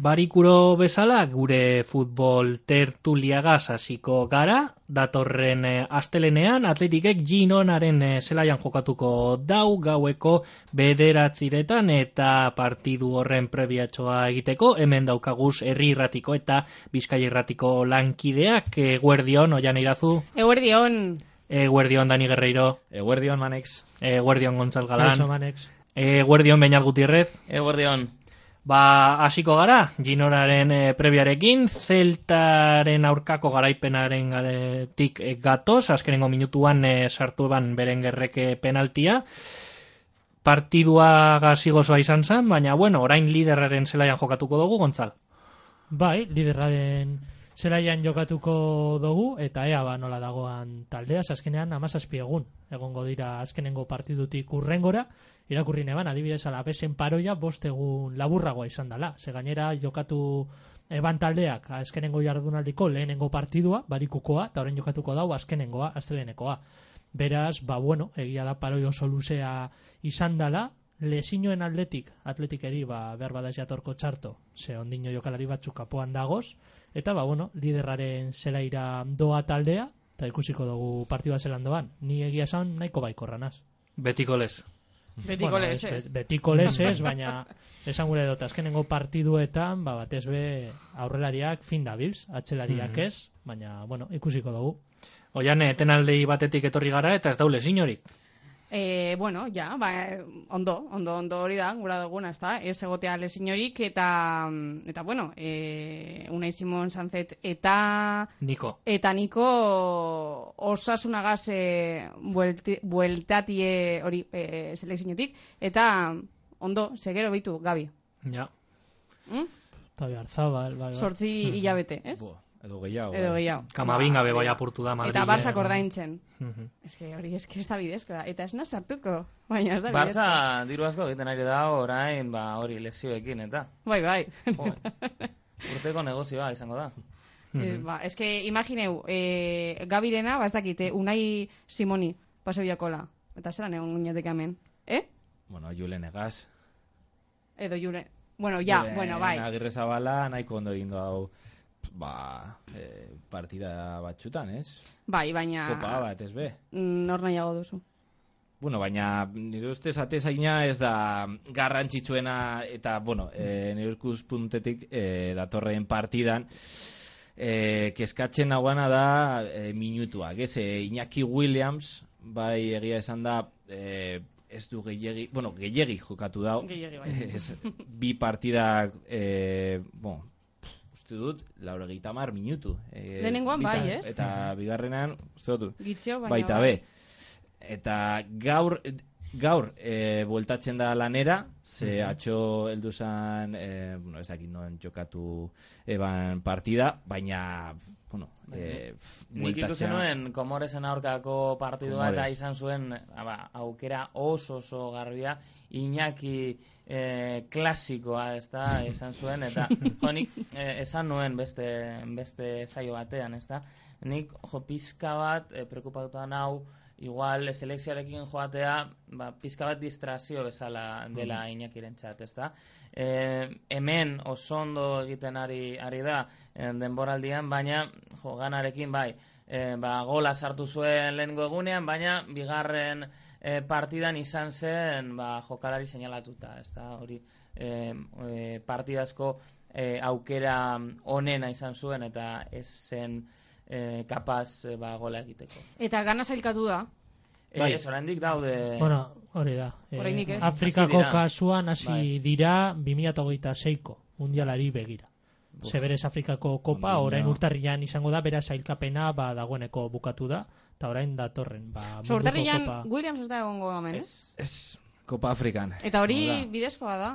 Barikuro bezala gure futbol tertuliagaz hasiko gara, datorren eh, astelenean atletikek Ginonaren eh, zelaian jokatuko dau gaueko bederatziretan eta partidu horren prebiatxoa egiteko, hemen daukaguz herri irratiko eta bizkai irratiko lankideak, eh, guerdion, oian irazu, Eguerdi hon, eh, guerdion Dani Guerreiro, Eguerdion Manex. eh, guerdion Gontzal Kaixo, Galan, Manex. eh, guerdion Beñat Gutierrez, Eguerdion. Ba, hasiko gara, Ginoraren eh, prebiarekin, Zeltaren aurkako garaipenaren garetik eh, gatoz, azkenengo minutuan eh, sartu eban beren gerreke penaltia. Partidua gazigozoa izan zen, baina bueno, orain liderraren zelaian jokatuko dugu, Gontzal. Bai, liderraren zelaian jokatuko dugu, eta ea ba nola dagoan taldea, azkenean amazazpi egun, egongo dira azkenengo partidutik urrengora, irakurri neban, adibidez, alabesen paroia, bost egun laburragoa izan dela. Ze gainera jokatu eban taldeak azkenengo jardunaldiko lehenengo partidua, barikukoa, eta orain jokatuko dau azkenengoa, astelenekoa. Beraz, ba bueno, egia da paroi oso luzea izan dala, lesinoen atletik, atletikeri ba, behar bada ez jatorko txarto, ze ondino jokalari batzuk kapoan dagoz, eta ba bueno, liderraren zelaira doa taldea, eta ikusiko dugu partidua zelan doan, ni egia esan nahiko baikorranaz. Betiko lez. betiko Bueno, lez ez, ez. bet- Betiko lez ez, baina esan gure dut, azkenengo partiduetan, ba, batez be aurrelariak fin dabilz, atzelariak Mhm. ez, baina, bueno, ikusiko dugu. Oian, etenaldi batetik etorri gara eta ez daule inorik. E, bueno, ja, ba, eh, ondo, ondo, ondo hori da, gura duguna, ez da, ez egotea lezinorik, eta, mm, eta bueno, e, Unai Simon Sanzet eta Niko. Eta niko osasunagaz e, buelti- bueltatie hori e, selekzionetik. Eta ondo, segero bitu, Gabi. Ja. Mm? Tabi Arzabal, bai, bai. Sortzi hilabete, ez? Bo, edo gehiago. eh. Edo gehiago. Kamabin gabe bai apurtu da Madrid. Ba, Eta Barsak ordaintzen. Mhm. Ez que hori, ez que ez da bidezko da. Eta ez naz sartuko. Baina ez da bidezko. Barça diru asko egiten ari da orain, ba, hori lesioekin eta. Bai, bai. Jo, urteko negozioa izango da. Eh, ba, ez que imagineu, e, Gabirena, ba ez dakit, eh, Unai Simoni, paseo jakola. Eta zelan egon guinetek hemen. Eh? Bueno, Julen Egaz. Edo jure. Bueno, ja, Julen bueno, bai. Agirre Zabala nahiko ondo egin du hau ba, eh, partida batxutan, ez? Bai, baina... mm, Kopa bat, ez be. Nor nahiago duzu. Bueno, baina nire ustez atezaina ez da garrantzitsuena eta, bueno, e, nire ikuspuntetik e, datorren partidan e, keskatzen hauana da e, minutuak, ez? E, Iñaki Williams, bai egia esan da, e, ez du gehiegi, bueno, gehiegi jokatu da. Gehiegi, bai. Ez, bi partidak, e, bueno, pff, uste dut, laurogeita mar minutu. E, Lehenengoan bitan- bai, ez? Eta bigarrenan, uste dut, Gitzio, baina... baita be. Eta gaur gaur e, bueltatzen da lanera, ze atxo heldu zan, e, bueno, ez dakit non jokatu eban partida, baina, bueno, Bai, e, pf, Nik ikusi bueltatzea- nuen Komoresen aurkako partidua Comores. eta izan zuen ah, ba, aukera oso oso garbia Iñaki eh, klasikoa ez da izan zuen eta jo, nik eh, esan nuen beste, beste saio batean ez da nik jo, pizka bat eh, preokupatuta nau igual selekzioarekin joatea ba, pizka bat distrazio bezala dela Iñakiren txat, ez da? E, hemen oso ondo egiten ari, ari da eh, denboraldian, baina jo, ganarekin bai, e, ba, gola sartu zuen lehengo egunean, baina bigarren eh, partidan izan zen ba, jokalari seinalatuta, ez da? Hori e, e, partidazko eh, aukera onena izan zuen eta ez zen eh, kapaz eh, ba, gola egiteko. Eta gana zailkatu da. Bai. Bai. Ez, oraindik daude... Bueno, hori da. Eh, Oraindik ez. Afrikako Hasi dira. kasuan hasi Bai. dira 2026ko mundialari begira. Zeberes Afrikako kopa Ondino. orain urtarrian izango da, beraz sailkapena ba dagoeneko bukatu da eta orain datorren ba munduko Sortarrian kopa. Williams ez da egongo hemen, ez? Ez, Ez, Copa Afrikan. Eta hori Hau da. bidezkoa da.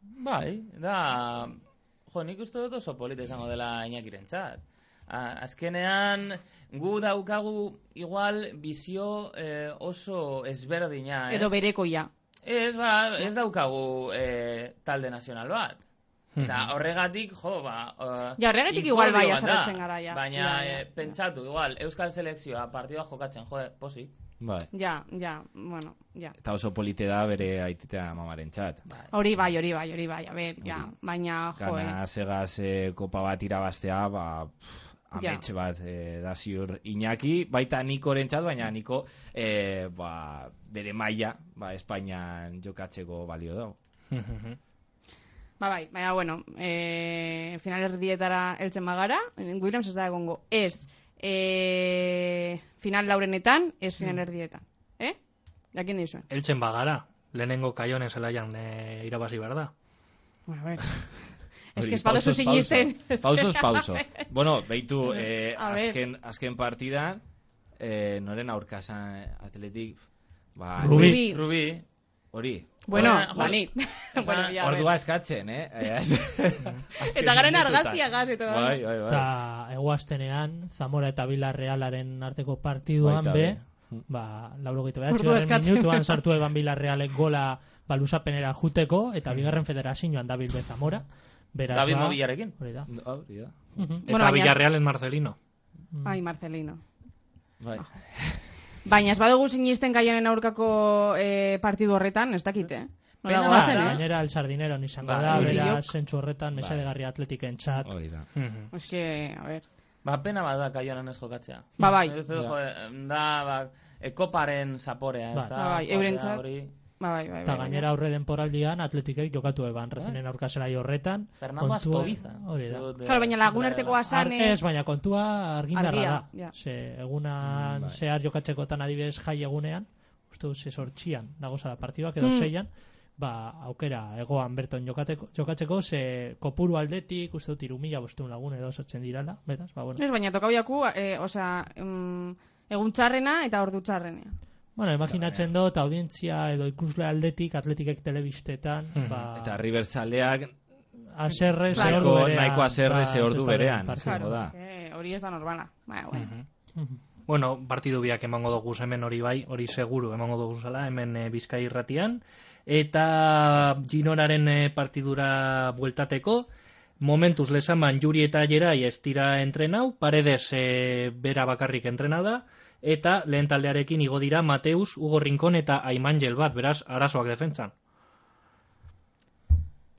Bai, da... Jo, nik uste dut oso polita izango dela Iñakiren txat. Azkenean, gu daukagu igual bizio eh, oso Ah, ezberdina, ez? Edo berekoia. Ez, ba, ez daukagu eh, talde nazional bat. Eta horregatik, jo, ba... eh, Hmm. Ja, horregatik igual bai inkordio bat da. haserretzen gara, ja. Baina, Ja, ja, eh, ja. pentsatu, igual, Euskal Selekzioa partidua jokatzen, jo, posi. Bai. Ja, ja, bueno, ja. Eta oso polite da bere aititea mamaren txat. Bai. Hori bai, hori bai, hori bai, a ber, ja. Hori. Baina, jo, eh. Gana, segaz, eh, kopa bat irabaztea, ba, pff, Ja. amets bat eh, da ziur Iñaki, baita Nikoren txat, baina Niko eh, ba, bere maila ba, Espainian jokatzeko balio dago. Ba, bai, baina, bueno, e, finalerdietara eltzen bagara, eh, Williams ez da egongo, ez e, final laurenetan, ez Mm. finalerdietan. Eh? Jakin dizuen. Eltzen bagara, lehenengo kaionen zelaian e, irabazi behar da. Bueno, a ver. Ez Hori, que espadozu pausoz sinisten. pauso. Pausoz pauso. bueno, beitu, eh, A ver. azken, azken partidan, eh, noren aurkazan atletik, ba, Rubi. Rubi, hori. Bueno, Bueno, jo- bani. Esan, bueno, ja, a ver. Ordua eskatzen, eh? Azken Eta garen eh. minututan. argazkiagaz eta- Bai, bai, bai. Eta eguaztenean, Zamora eta Bilarrealaren arteko partiduan Baita be, be. Hmm. ba, lauro gaita Ordu eskatzen. minutuan sartu eban Bilarrealek gola baluzapenera juteko, eta bigarren federazioan dabil be Zamora. Beraz, Hmm. David ba, Mobillarekin. Hori da. No, oh, Hori da. Mhm. Bueno, Eta baina- Villarreal en Marcelino. Ai, Marcelino. Bai. Baina ez badugu sinisten gaionen aurkako e, partidu horretan, ez dakite. Eh? Nola Pena goazen, bat, eh? Gainera, el sardinero izango Ba, da, hori beraz, diok. zentzu horretan, mesedegarri atletiken txat. Hori da. Mhm. Ez que, a ver. Ba, pena bat da kaionan ez jokatzea. Ba, bai. Ez dut, jo, eh, da, ba, ekoparen zaporea, ez Bai. da? Ba, bai, joatea eurentzat. hori. Ba, bai, bai, Eta bai, gainera aurre denporaldian atletikek jokatu eban, rezenen aurka zelai horretan. Fernando kontua- Astobiza. Hori da. bai. Claro, eh, baina lagunartekoa Ar- Sanez- Ez, baina kontua argindarra Argia, da. ja. Ze, egunan Mm, bai. zehar jokatzekotan adibidez jai egunean, uste dut sortxian dago zara partiduak edo Mm. seian, ba, aukera egoan berton jokateko, jokatzeko, ze kopuru aldetik, uste dut irumila bosteun lagun edo sortzen dirala, beraz, ba, bueno. Ez, baina tokau jaku, e, osea, mm, egun txarrena eta ordu txarrenea. Bueno, imaginatzen dut, audientzia edo ikusle aldetik, atletikek telebistetan, Mhm. ba, Eta River zaleak aserre ze Claro. ordu nahiko, berean. nahiko ba, azerre ze ordu zesta berean. partidu. izango da. Eh, hori ez da normala. Baina, bueno. Mhm. Bueno, partidu biak emango dugu hemen hori bai, hori seguru emango dugu zala hemen e, Bizkai irratian. Eta Ginoraren e, partidura bueltateko, momentuz lezaman Juri eta Jerai ez dira entrenau, paredes e, bera bakarrik entrena da, eta lehen taldearekin igo dira Mateus, Hugo Rincón eta Aimangel bat, beraz, arazoak defentsan.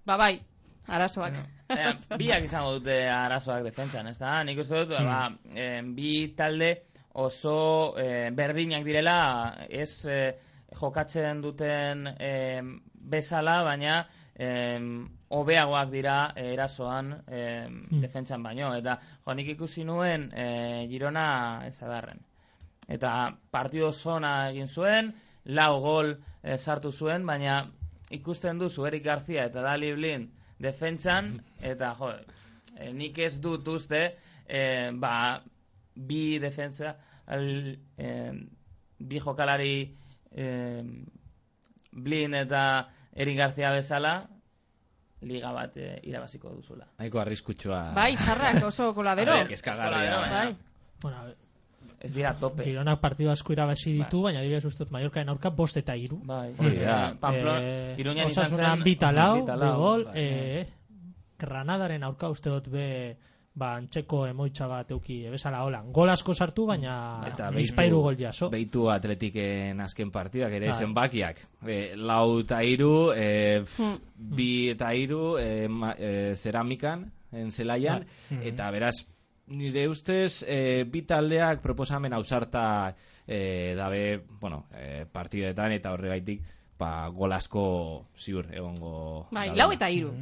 Ba, bai, arazoak. Eh, biak izango dute arazoak defentsan, ez da? Nik uste dut, ba, eh, bi talde oso eh, berdinak direla, ez eh, jokatzen duten eh, bezala, baina eh, hobeagoak dira eh, erasoan eh, defentsan baino. Eta jo, nik ikusi nuen eh, Girona ezadarren. Eta partido zona egin zuen, lau gol eh, sartu zuen, baina ikusten duzu Eric García eta Dali Blind defentsan, eta jo, eh, nik ez dut uste, eh, ba, bi defentsa, al, eh, bi jokalari eh, Blind eta Eric García bezala, liga bat eh, irabaziko duzula. Nahiko arriskutsua. Bai, txarrak oso koladero. A ver, kezkagarria. Eskola dela, Bai. baina Bueno, a ver, Ez dira tope. Gironak partidu asko irabazi ditu, baina adibidez uste dut Mallorcaen aurka bost eta hiru. Bai, Hori da. Eh, Pamplon, Iruñan izan zen... bitalau, bitalau, gol, bai. eh, Granadaren aurka uste dut be, ba, antxeko emoitza bat euki, ebesala holan. Gol asko sartu, baina Eta bizpairu gol jaso. Beitu atletiken azken partidak ere Bai. zenbakiak. E, lau eta iru, e, pf, Hmm. bi eta iru, e, ma, e, zeramikan, en Ah, zelaian, hmm. eta beraz, nire ustez, e, bi taldeak proposamen ausarta e, dabe, bueno, e, partidetan eta horregaitik, ba, gol asko ziur egongo. Bai, daudela. lau eta hiru.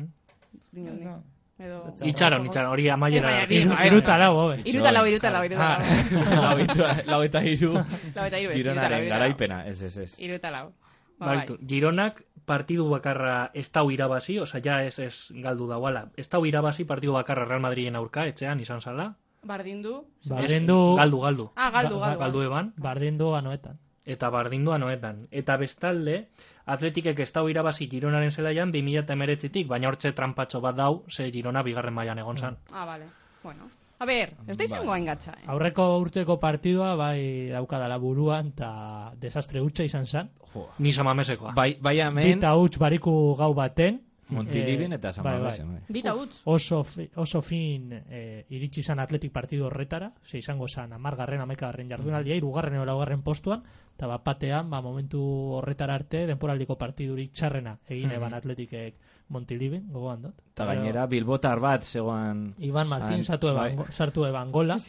Diño, ni. No. Edo... Itxaron, itxaron, hori amaiera. Ez, baina Iru, Bai, iru bai. eta lau, hobe. Iruta lau, iruta lau, iruta lau. lau, eta, lau eta hiru. Lau eta hiru, ez, Ah. Gironaren iruta lau, iruta garaipena, ez, ez, ez. Iruta lau. Ba, Baitu, bai. Gironak partidu bakarra ez dau irabazi, oza, ja ez ez galdu dauala. Ez dau irabazi partidu bakarra Real Madrilen aurka, etxean izan zala. Bardindu. Bardendu, Galdu, galdu. Ah, galdu, Ba- galdu. Galdu eban, bardendu anoetan. eta bardindua noetan. Eta bestalde, atletikek ez dau irabazi Gironaren zelaian 2008tik, baina hortze trampatxo bat dau, ze Girona bigarren mailan egon zan. Ah, vale. Bueno. A ber, ez da izango Bai. hain gatza, eh? Aurreko urteko partidua, bai, daukadala buruan, eta desastre hutsa izan zen. Jo. Ba, Nisa mamesekoa. Bai, bai amen, Bita huts bariku gau baten, Montilibin Eh, eta San bai, bai. Mamesen, bai. Bita utz. oso, fi- oso fin eh, iritsi izan atletik partidu horretara, ze izango zan, amargarren, amekagarren jardunaldia, irugarren edo laugarren postuan, eta bat batean, ba, momentu horretara arte, denporaldiko partidurik txarrena egin Mhm. eban atletikek Montilibin, gogoan dut. Eta gainera bilbotar bat zegoan... Iban Martin Han- sartu eban, bai. sartu eban gola,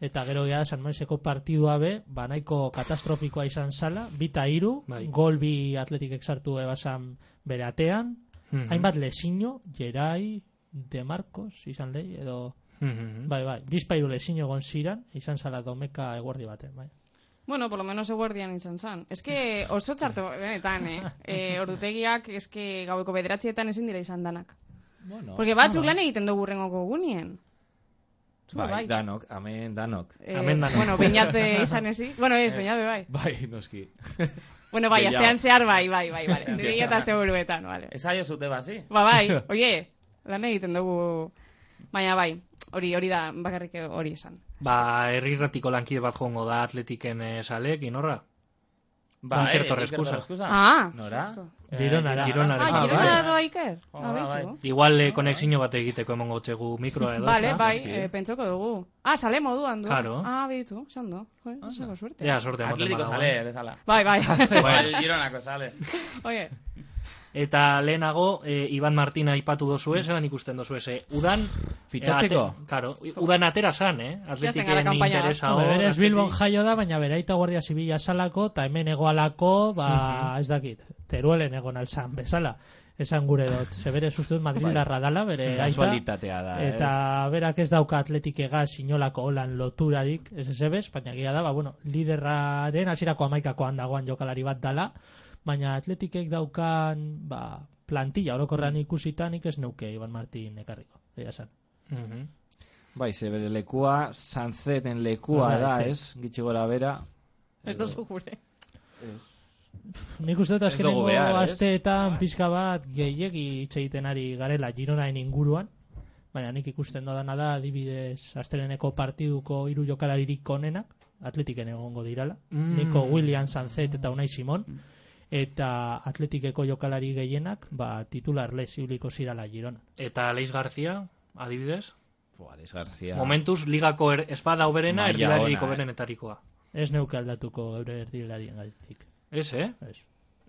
eta gero gara San Moiseko partidua be, ba, nahiko katastrofikoa izan zala, bita iru, Bai. gol bi atletikek sartu ebazan bere atean, Mhm. hainbat lesiño, Jerai, De Marcos, izan lehi, edo... Mhm. Bai, bai, bizpairu lezino egon ziran, izan zala domeka eguerdi baten, bai. Bueno, por lo menos eguerdian izan zan. Ez que oso txarto, benetan, eh? eh ordutegiak, ez que gaueko bederatzietan ezin dira izan danak. Bueno, Porque batzuk lan egiten dugu urrengoko gunien. bai, bai. danok, amen, danok. Eh, Hemen danak. bueno, beinate izan ezi. Bueno, ez, beinate bai. Bai, noski. Bueno, bai, Gehiago. astean zehar bai, bai, bai, bai. Astean Nire eta aste buruetan, vale. Ez aio zute bazi. Ba, bai, oie, lan egiten dugu. Baina bai, hori hori da, bakarrik hori esan. Ba, herrirratiko lankide bat jongo da atletiken eh, saleekin, horra? Ba, Iker Torrescusa. Ah, Nora? justo. Eh, Gironara. Gironara. Ah, Ah, Girona bai. doa Iker? Oh, Ah, ba, beitu. Igual eh, konexio bat egiteko emango txegu mikroa edo. Vale, ezta? bai, Noski. eh, pentsoko dugu. Ah, sale moduan du. Claro. Ah, bitu, sando. Joder, oso suerte. Ea, sorte eh. ematen Atlético badago, sale, bezala. Bai, bai. Igual Gironako sale. Oie, Eta lehenago, eh, Iban Martina aipatu dozu ez, eran ikusten dozu ez. eh, Udan... Fitxatzeko? eh, ate- Claro, udan atera san, eh? gara Atletiken kanpaina. interesa Hombre, hor, berez atletik- Bilbon jaio da, baina beraita Guardia Zibila salako, eta hemen egoalako, ba, ez dakit, teruelen egon alzan, bezala. Esan gure dut, ze berez uste dut Madrildarra dala, Bai. bere aita. Eh, Kasualitatea da, Eta berak ez dauka atletikega sinolako holan loturarik, ez ez ebes, baina gira da, ba, bueno, liderraren hasierako amaikakoan dagoan jokalari bat dala, baina atletikek daukan, ba, plantilla orokorran ikusita nik ez neuke Iban Martin ekarriko, egia esan. Mhm. ez? Bai, ze bere lekua, sanzeten lekua Bai, da, bai. ez? Gitxi gora bera. ez dozu gure. Nik uste dut Ez dugu azkenengo behar, ez? Bai. asteetan pixka bat gehiegi hitz egiten ari garela Gironaen inguruan, baina nik ikusten dodana da adibidez astreneko partiduko hiru jokalaririk onenak, atletiken egongo dirala, Mm. Nico William Sanzet eta Unai Simon, Mm. eta atletikeko jokalari gehienak ba, titular lez ibiliko zirala Girona. Eta Leiz García, adibidez? Buares García. Momentuz, ligako er, espada oberena, Maila erdilariko ona, eh. berenetarikoa. Ez neuke aldatuko eure erdilarien gaitik. Ez, eh? Ez.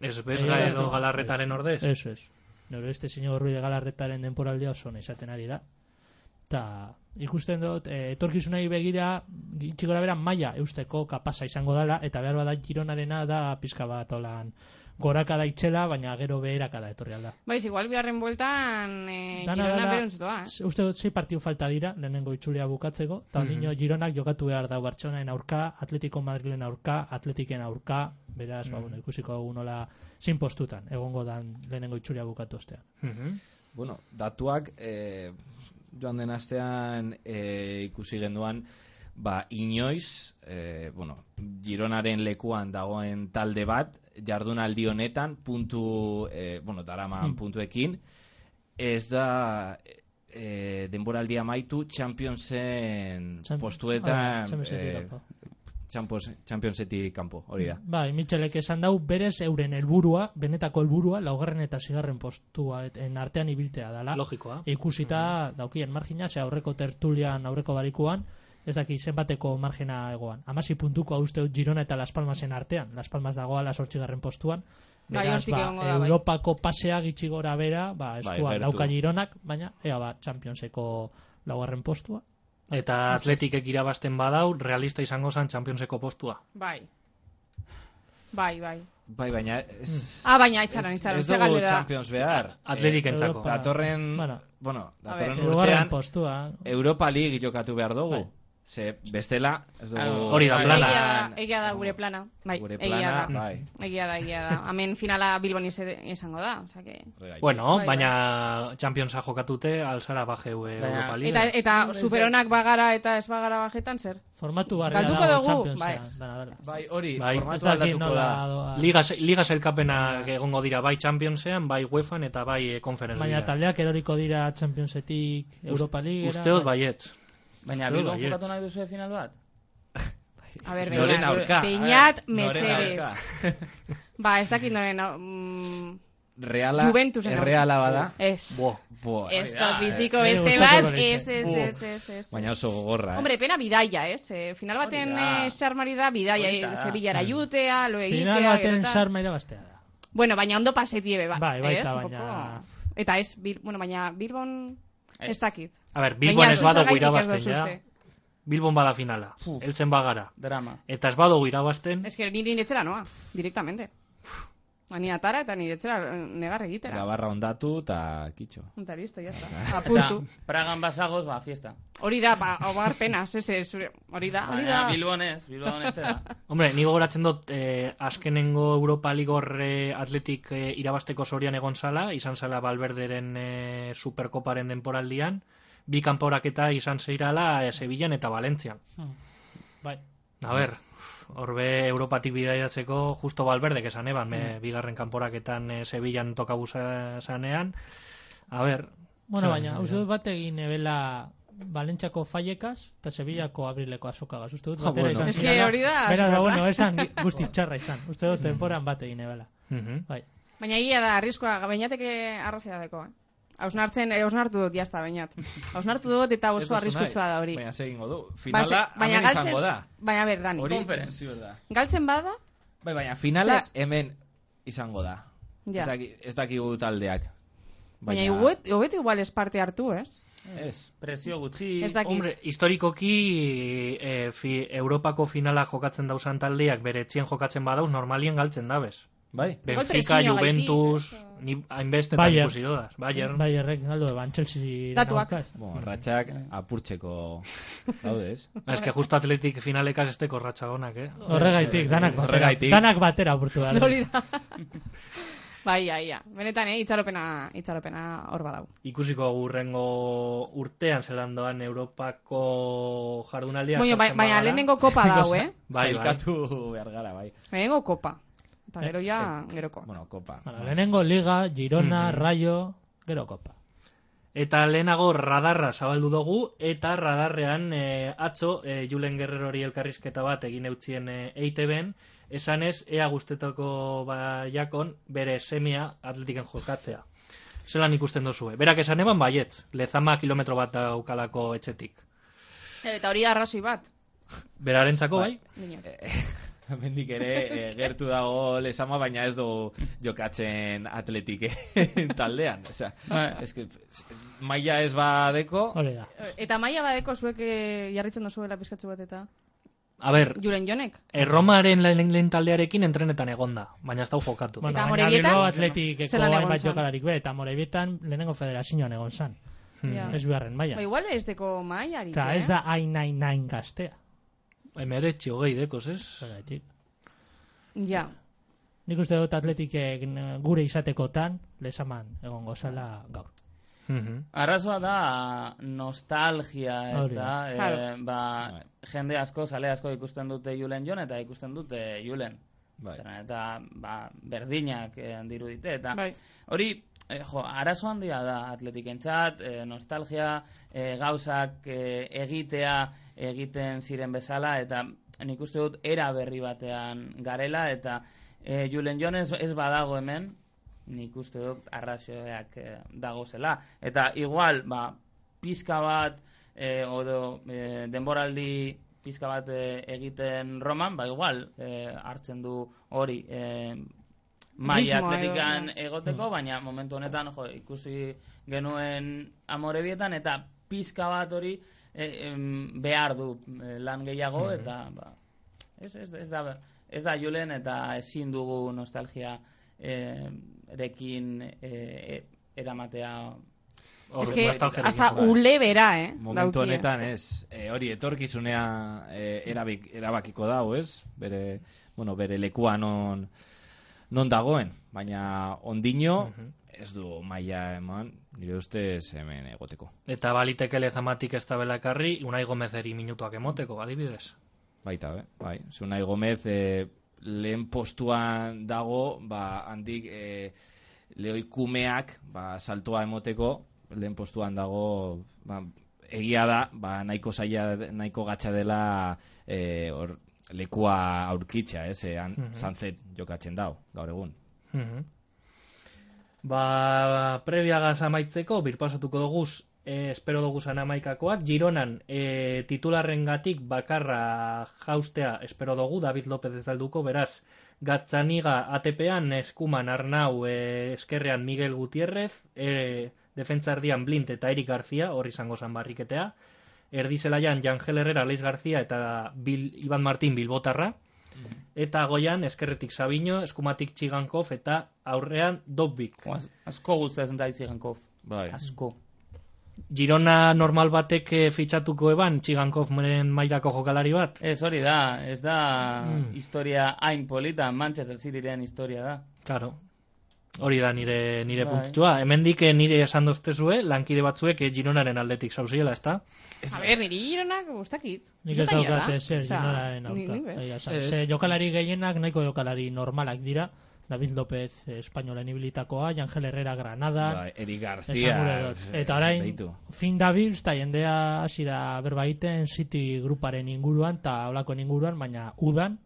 Ez bezga Ez, edo ez. galarretaren ordez. Bai, Eso es. Neuro este señor Ruiz de Galarretaren denporaldia oso ona izaten ari da. Ta ikusten dut, eh, etorkizunei begira, gitxi gora bera maia eusteko kapasa izango dela, eta behar bada Gironarena da pizka bat olan goraka da itxela, baina gero beheraka da etorri alda. Baiz, Bai, igual biharren bueltan eh, Dana Girona dela- beruntzutoa, eh? Uste dut, zei partidu falta dira, lehenengo itzulia bukatzeko, eta Mhm. ondino Gironak jokatu behar da Bartxonaen aurka, Atletico Madrilen aurka, Atletiken aurka, beraz, ba, bueno, ikusiko dugu nola zein postutan, egongo dan lehenengo itzulia bukatu ostean. Mhm. Bueno, datuak eh, joan den astean eh, ikusi genduan ba, inoiz, eh, bueno, Gironaren lekuan dagoen talde bat, jardunaldi honetan, puntu, eh, bueno, daraman Hmm. puntuekin, ez da eh, denboraldi amaitu Championsen Champ- Ah, postuetan Championsetik eh, kanpo. Champions- Championsetik kanpo, hori da. Bai, Mitxelek esan dau berez euren helburua, benetako helburua, laugarren eta zigarren postua et- en artean ibiltea dala. Logikoa. Ikusita daukien margina, ze aurreko tertulian, aurreko barikuan, ez daki zenbateko margina egoan. Amasi puntuko uste dut Girona eta Las Palmasen artean. Las Palmas dagoa la sortxigarren postuan. Bai, Beraz, ba, hortik egongo da, bai. Europako pasea gitxi gora bera, ba, eskuan Bai, gertu. dauka Gironak, baina, ea ba, Championseko laugarren postua. Eta atletikek irabazten badau, realista izango zan txampionseko postua. Bai. Bai, bai. Bai, baina ez, Hmm. Ah, baina etxaran, ez- etxaran. ez dugu Champions behar. Atletikentzako. Europa. Ba, Datorren, Bueno. bueno, datorren ver. Hirugarren urtean postua. Europa League jokatu behar dugu. Bai. Ze bestela, ez dugu... Hori da plana. Egia da, egia da gure plana. Bai, Gure egia plana, da. bai. Egia da, egia da. Hemen finala Bilbon ize- izango da, osea que... Horregatik. Bueno, Bai, baina championsa jokatute, alzara bajeu eh, Baina- Europa Liga. Eta, e- eta superonak bagara eta ez bagara bajetan zer? Formatu barria Galduko dago dugu, bai. Champions. Bai. Bai, hori, Bai. Ez formatu dakit aldatuko nola da. doa. Liga, Liga sailkapena egongo dira bai Championsean, bai UEFan eta bai eh, Conference Baina Ligan. taldeak eroriko dira Championsetik Europa bai. League. Uste dut bai. bai baietz. Baina Uste dut Bilbon baietz. jokatu nahi duzu final bat? A ber, Noren Beñat. aurka. a ber, Beñat, noren mesedes. aurka. Ba, ez dakit noren... au- Mm, reala, Juventusen aurka. erreala bada. Ez. Bo, bo, Ez hori da da, biziko eh. beste Nire bat, gustatuko ez, litzaidake. ez, Uh. ez, ez, ez. eh. Baina oso gogorra, eh? Hombre, pena bidaia, ez? Eh, final baten Hori da. eh, sarmari da bidaia, Hori da. eh, Sevillara jutea, lo egitea, Bai. Final gero baten eta- sarma irabaztea da. Bueno, baina ondo pasetie be bat, Bai, baita, ez? Un poco- baina- Eta ez, bil, bueno, baina Bilbon ez Ez. dakit. A ber, Bilbon Baina ez badugu zergatik ez irabazten, duzu ja. uste? Bilbon bada finala. Fu. Eltzen bagara. Drama. Eta ez badugu irabazten, Ez que niri etxera noa, directamente. Ba, Ni atara eta nire etxera eh, negar egitera. Gabarra ondatu eta kitxo. Eta listo, ya está. Eta Apurtu. Pragan basagoz, ba, fiesta. Hori da, ba, omar penas, ez, ez, zure- hori da, hori Baina da. Bilbon ez, Bilbon ez da. Hombre, ni gogoratzen dut eh, azkenengo Europa League horre atletik eh, irabasteko zorian egon zala, izan zala Balberderen eh, Superkoparen denporaldian, bi kanporaketa izan zeirala eh, Sevillan eta Valentzian. Hmm. Bai. A ber, horbe Europatik bidaiatzeko justo Balberdek esan eban, Mm. me, bigarren kanporaketan eh, Sevillan tokabu za- zanean. A ber, Bueno, Zer, baina, mira. uste dut bat egin ebela Valentxako faiekaz eta Sevillako abrileko azokagaz. Uste dut Ah, batera bueno. izan Es que zirela. hori da, Beraz, azokaka. ba, bueno, esan gi- guzti txarra izan. Uste dut temporan bat egin ebela. mhm. Bai. Baina egia da, arriskoa, bainateke arrazia deko, eh? Hausnartzen, eh, hausnartu dut, jazta, bainat. Hausnartu dut eta Ez oso duzu arriskutsua nahi. da hori. Baina ze egingo du. Ba, Finala, ze- baina hemen izango da. Baina, ber, Dani. Hori, Conference. ziur da. Galtzen bada, Bai, baina finala Ze- hemen izango da. ja. Ez, daki, ez dakigu taldeak. Baina, hobet- hobete igual ez parte hartu, ez? Ez. Presio gutxi. Ez dakit. Hombre, historikoki eh, fi, Europako finala jokatzen dauzan taldeak bere etxien jokatzen badauz normalien galtzen dabez. Bai. Benfica, presioa Juventus, gaitik, ni hainbeste Bayern. ikusi dodaz. Bayern. Bai, errek galdu eban, Chelsea... Datuak. Bon, ratxak apurtzeko daude, ez? Ez que justo atletik finalekak ez teko ratxagonak, eh? Horregaitik, danak batera. Horregaitik. Danak batera burtu da. Hori da. bai, ja, ja. Benetan, eh, itxaropena, itxaropena hor badau. Ikusiko urrengo urtean zelan doan Europako jardunaldia. Bueno, bai- sartzen baina bagara. lehenengo kopa dau, eh? Bai, bai. Zailkatu behar gara, bai. Lehenengo kopa. Eta Eh, gero ja, geroko. Bueno, kopa. Bueno, lehenengo Liga, Girona, Mm-hmm. Mhm. Rayo, gero Copa. Eta lehenago radarra zabaldu dugu, eta radarrean eh, atzo eh, Julen Gerrerori elkarrizketa bat egin eutzien eh, EITB-en, esanez ea gustetako baiakon bere semia atletiken jokatzea. Zelan ikusten duzue. Berak esan eban baietz, lezama kilometro bat daukalako etxetik. eh, Eta hori arrazoi bat. Berarentzako bai? Dinot. Mendik ere eh, gertu dago lezama, baina ez du jokatzen atletik taldean. Osea, Bai. ez que, maia ez badeko, Hori da. Eta maia badeko zuek eh, jarritzen duzuela pizkatzu bat eta... A ber, eh, Juren jonek? erromaren lehen, lehen taldearekin entrenetan egonda, baina ez dau jokatu. Bueno, Eta baina Amorebieta? Bilbao atletikeko Zelan egon hainbat zan. jokalarik be, eta Morebietan lehenengo federazioan egon zan. Ja. Hmm. Ez biharren maia. Ba, igual ez deko maiari, Eta eh? ez da hain hain hain gaztea. Emeretxi hogei dekoz, ez? Zergatik. Ja. Nik uste dut atletikek eh, gure izatekotan, lezaman egongo zala gaur. Mhm. Arrazoa da nostalgia, ez Hori da? da. Eh, Claro. ba, jende asko, sale asko ikusten dute Julen Jon eta ikusten dute Julen. Bai. Zeren, eta ba, berdinak eh, dirudite eta Bai. hori eh, jo, arazo handia da atletikentzat, eh, nostalgia, eh, gauzak eh, egitea egiten ziren bezala eta nik uste dut era berri batean garela eta eh, Julen Jon ez, ez badago hemen, nik uste dut arrazoeak eh, dagozela. Eta igual, ba, pizka bat, eh, odo, eh, denboraldi pizka bat eh, egiten Roman, ba igual, eh, hartzen du hori, eh, maila Ritmoa edo, atletikan ja. Mm. egoteko, baina momentu honetan, jo, ikusi genuen amorebietan, eta pizka bat hori eh, em, behar du eh, lan gehiago, Mm-hmm. eta ba, Ez, ez, ez da, ez da Julen eta ezin dugu nostalgia eh, rekin eh, eramatea. Hor, Ez que nostalgiarekin hasta jokatzen. ule bera, eh? Momentu daukie. honetan, ez, eh, hori etorkizunea eh, erabik, erabakiko dau, ez? Bere, bueno, bere lekua non, non dagoen, baina ondino ez du maila eman, nire ustez hemen egoteko. Eta baliteke lezamatik ez da belakarri, unai gomezeri minutuak emoteko, adibidez. Baita, eh? bai. Zunai Gomez eh, lehen postuan dago, ba, handik eh, lehoikumeak ba, saltoa emoteko, lehen postuan dago, ba, egia da, ba, nahiko zaila, nahiko gatza dela eh, hor, lekua aurkitza, ez, eh, han, Mhm. Sanzet jokatzen dau, gaur egun. Mhm. Ba, prebiagaz amaitzeko, birpasatuko doguz, e, espero doguzan amaikakoak, Gironan e, titularrengatik bakarra jaustea espero dugu, David López ez dalduko, beraz, Gatzaniga ATP-an, Eskuman Arnau, e, Eskerrean Miguel Gutierrez, e, Defentzardian Blint eta Eric García, hor izango zan barriketea, Erdi zelaian Jangel Herrera, Leiz García eta Bil, Iban Martin Bilbotarra, eta goian eskerretik Sabino, eskumatik Txigankov eta aurrean Dobbik. Oaz, asko gustatzen da izigankov. Bai. Asko. Girona normal batek eh, fitxatuko eban Txigankov meren mailako jokalari bat. Ez hori da, ez da Mm. historia hain polita, Manchester Cityren historia da. Claro. Hori da nire, nire Bai. puntua. Hemendik eh, nire esan doztezue, lankide batzuek eh, Gironaren aldetik zauziela, ezta? A ber, niri gironak gustakit. Nik ez daukate zer jokalaren Ni, aurka. ni bez. Egia esan. Ez. Ze Eh, jokalari gehienak nahiko jokalari normalak dira. David López eh, espainolen ibilitakoa, Angel Herrera Granada, Bai, Eri esan gure García. dut. Eta orain, deitu. fin dabiltz, eta jendea hasi da berba egiten City gruparen inguruan, eta olakoen inguruan, baina udan,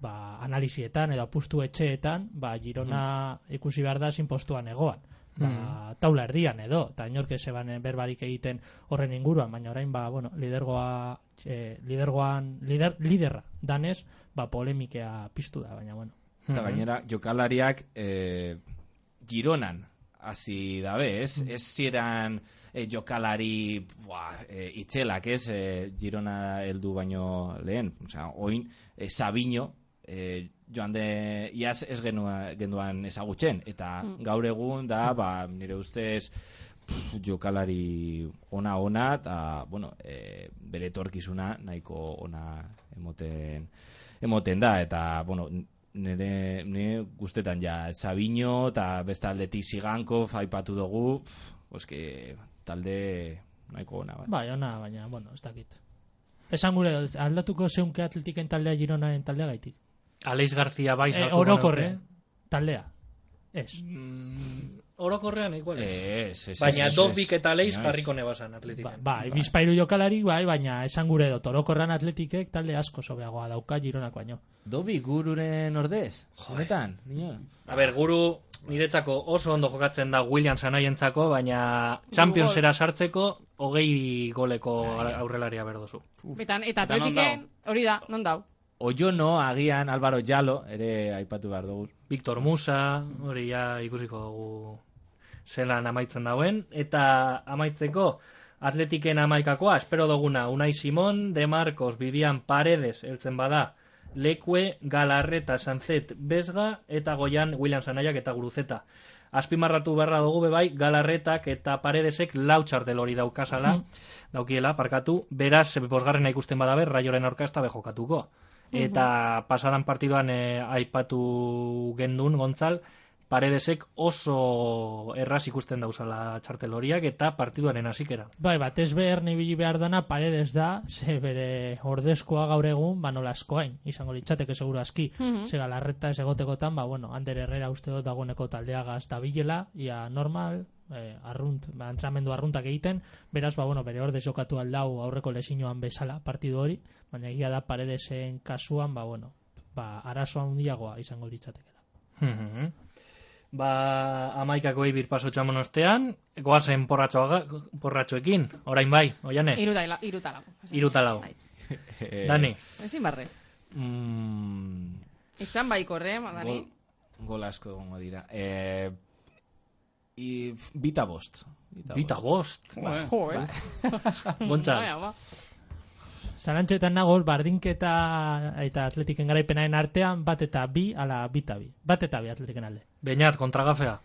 ba, analizietan edo apustu etxeetan, ba, Girona Mm-hmm. ikusi behar da zinpostuan egoan. Ba, taula erdian edo, eta inork ez eban berbarik egiten horren inguruan, baina orain, ba, bueno, lidergoa, eh, lidergoan, lider, liderra danez, ba, polemikea piztu da, baina, bueno. Eta gainera, jokalariak eh, Gironan hasi dabe, ez? Ez ziren eh, jokalari bua, eh, itzelak, ez? Eh, Girona heldu baino lehen. Osea, oin, eh, Sabino, eh, joan de, iaz ez genua, genduan ezagutzen. Eta gaur egun da, ba, nire ustez, pff, jokalari ona ona eta bueno, e, bere etorkizuna nahiko ona emoten emoten da eta bueno, n- nire, nire guztetan ja Sabino eta beste aldetik Ziganko aipatu dugu pff, oske, talde nahiko ona Ba, bat. Bai, ona, baina, bueno, ez dakit. Esan gure, dut, aldatuko zeunke atletiken taldea Gironaren taldea gaitik. Aleiz García bai E, sartuko orokorre, nuke. taldea. Ez. Mm, orokorrean igual ez. Eh, ez, ez, Baina ez, ez, Dobbik ez. eta Aleiz Inoiz. jarriko nebazan Ba, atletiken. bai, bizpairu jokalari, bai, baina esan gure dut, orokorran atletikek talde asko sobeagoa dauka Gironak baino. Dobbik gururen ordez? Honetan, nio? A ber, guru niretzako oso ondo jokatzen da Williams anaientzako, baina Championsera sartzeko hogei goleko aurrelaria berdozu. Betan, eta Eta non atletiken, hori da, non dau. Oiono, agian, Álvaro Jalo, ere aipatu behar dugu. Victor Musa, hori ja ikusiko dugu zelan amaitzen dauen. Eta amaitzeko, atletiken amaikakoa, espero duguna, Unai Simon, De Marcos, Bibian Paredes, eltzen bada, Lekue, Galarreta, Sanzet, Besga, eta Goian, William Sanaiak eta Guruzeta. Azpimarratu beharra dugu bebai, Galarretak eta Paredesek lau txartel hori daukasala, daukiela, parkatu, beraz, bosgarrena ikusten badabe, raioren aurka ez da bejokatuko. Eta pasadan partiduan eh, aipatu gendun, Gontzal, paredesek oso erraz ikusten dauzala txartel horiak eta partiduaren hasikera. Bai, bat ez behar nibili behar dana paredes da, ze bere ordezkoa gaur egun, ba nola askoain, izango litzateke seguru aski. Mhm. Ze galarreta ez egotekotan, ba bueno, Ander Herrera uste dut dagoeneko taldea gazta bilela, ia normal, eh, arrunt, ba, entramendu arruntak egiten, beraz, ba bueno, bere ordez jokatu aldau aurreko lesinoan bezala partidu hori, baina egia da paredesen kasuan, ba bueno, ba arazoa handiagoa izango litzatekela. Mhm. ba, amaikako ebir paso txamon ostean, goazen porratxoaga- porratxoekin, orain bai, oiane, Iruta, ila- iruta lago. iruta lau. Bai. Eh, Dani, Ezin barre. bai Mm, Izan baiko, horre, Bai. Dani. gol, gol asko egongo dira. Eh, i, f- bita bost. bita bost, Jo, eh? Baina, Gontzal. ba. Zarantxetan nago, bardinketa eta atletiken garaipenaren artean, bat eta bi, ala bi eta bi. Bat eta bi atletiken alde. Beñar, kontragafea,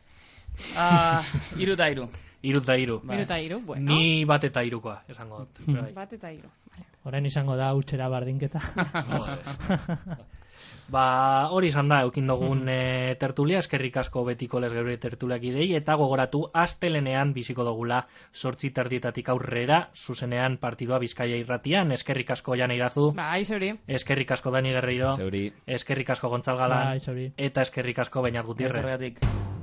Ah, iru da iru. iru eta iru. Bai. Iruta iru, Ba, bueno. Ni bat eta irukoa, esango dut. bai. Bat eta iru. Orain izango da utxera bardinketa. Ba, hori izan da, eukin dugun e, tertulia, eskerrik asko betiko lez geure tertuliak idei, eta gogoratu, astelenean biziko dugula sortzi terdietatik aurrera, zuzenean partidua bizkaia irratian, eskerrik asko jan irazu, Ba, hori. eskerrik asko Dani Guerreiro, Zeuri. eskerrik asko Gontzal Galan, Bai, hori. eta eskerrik asko Beñat Gutierrez. Zergatik.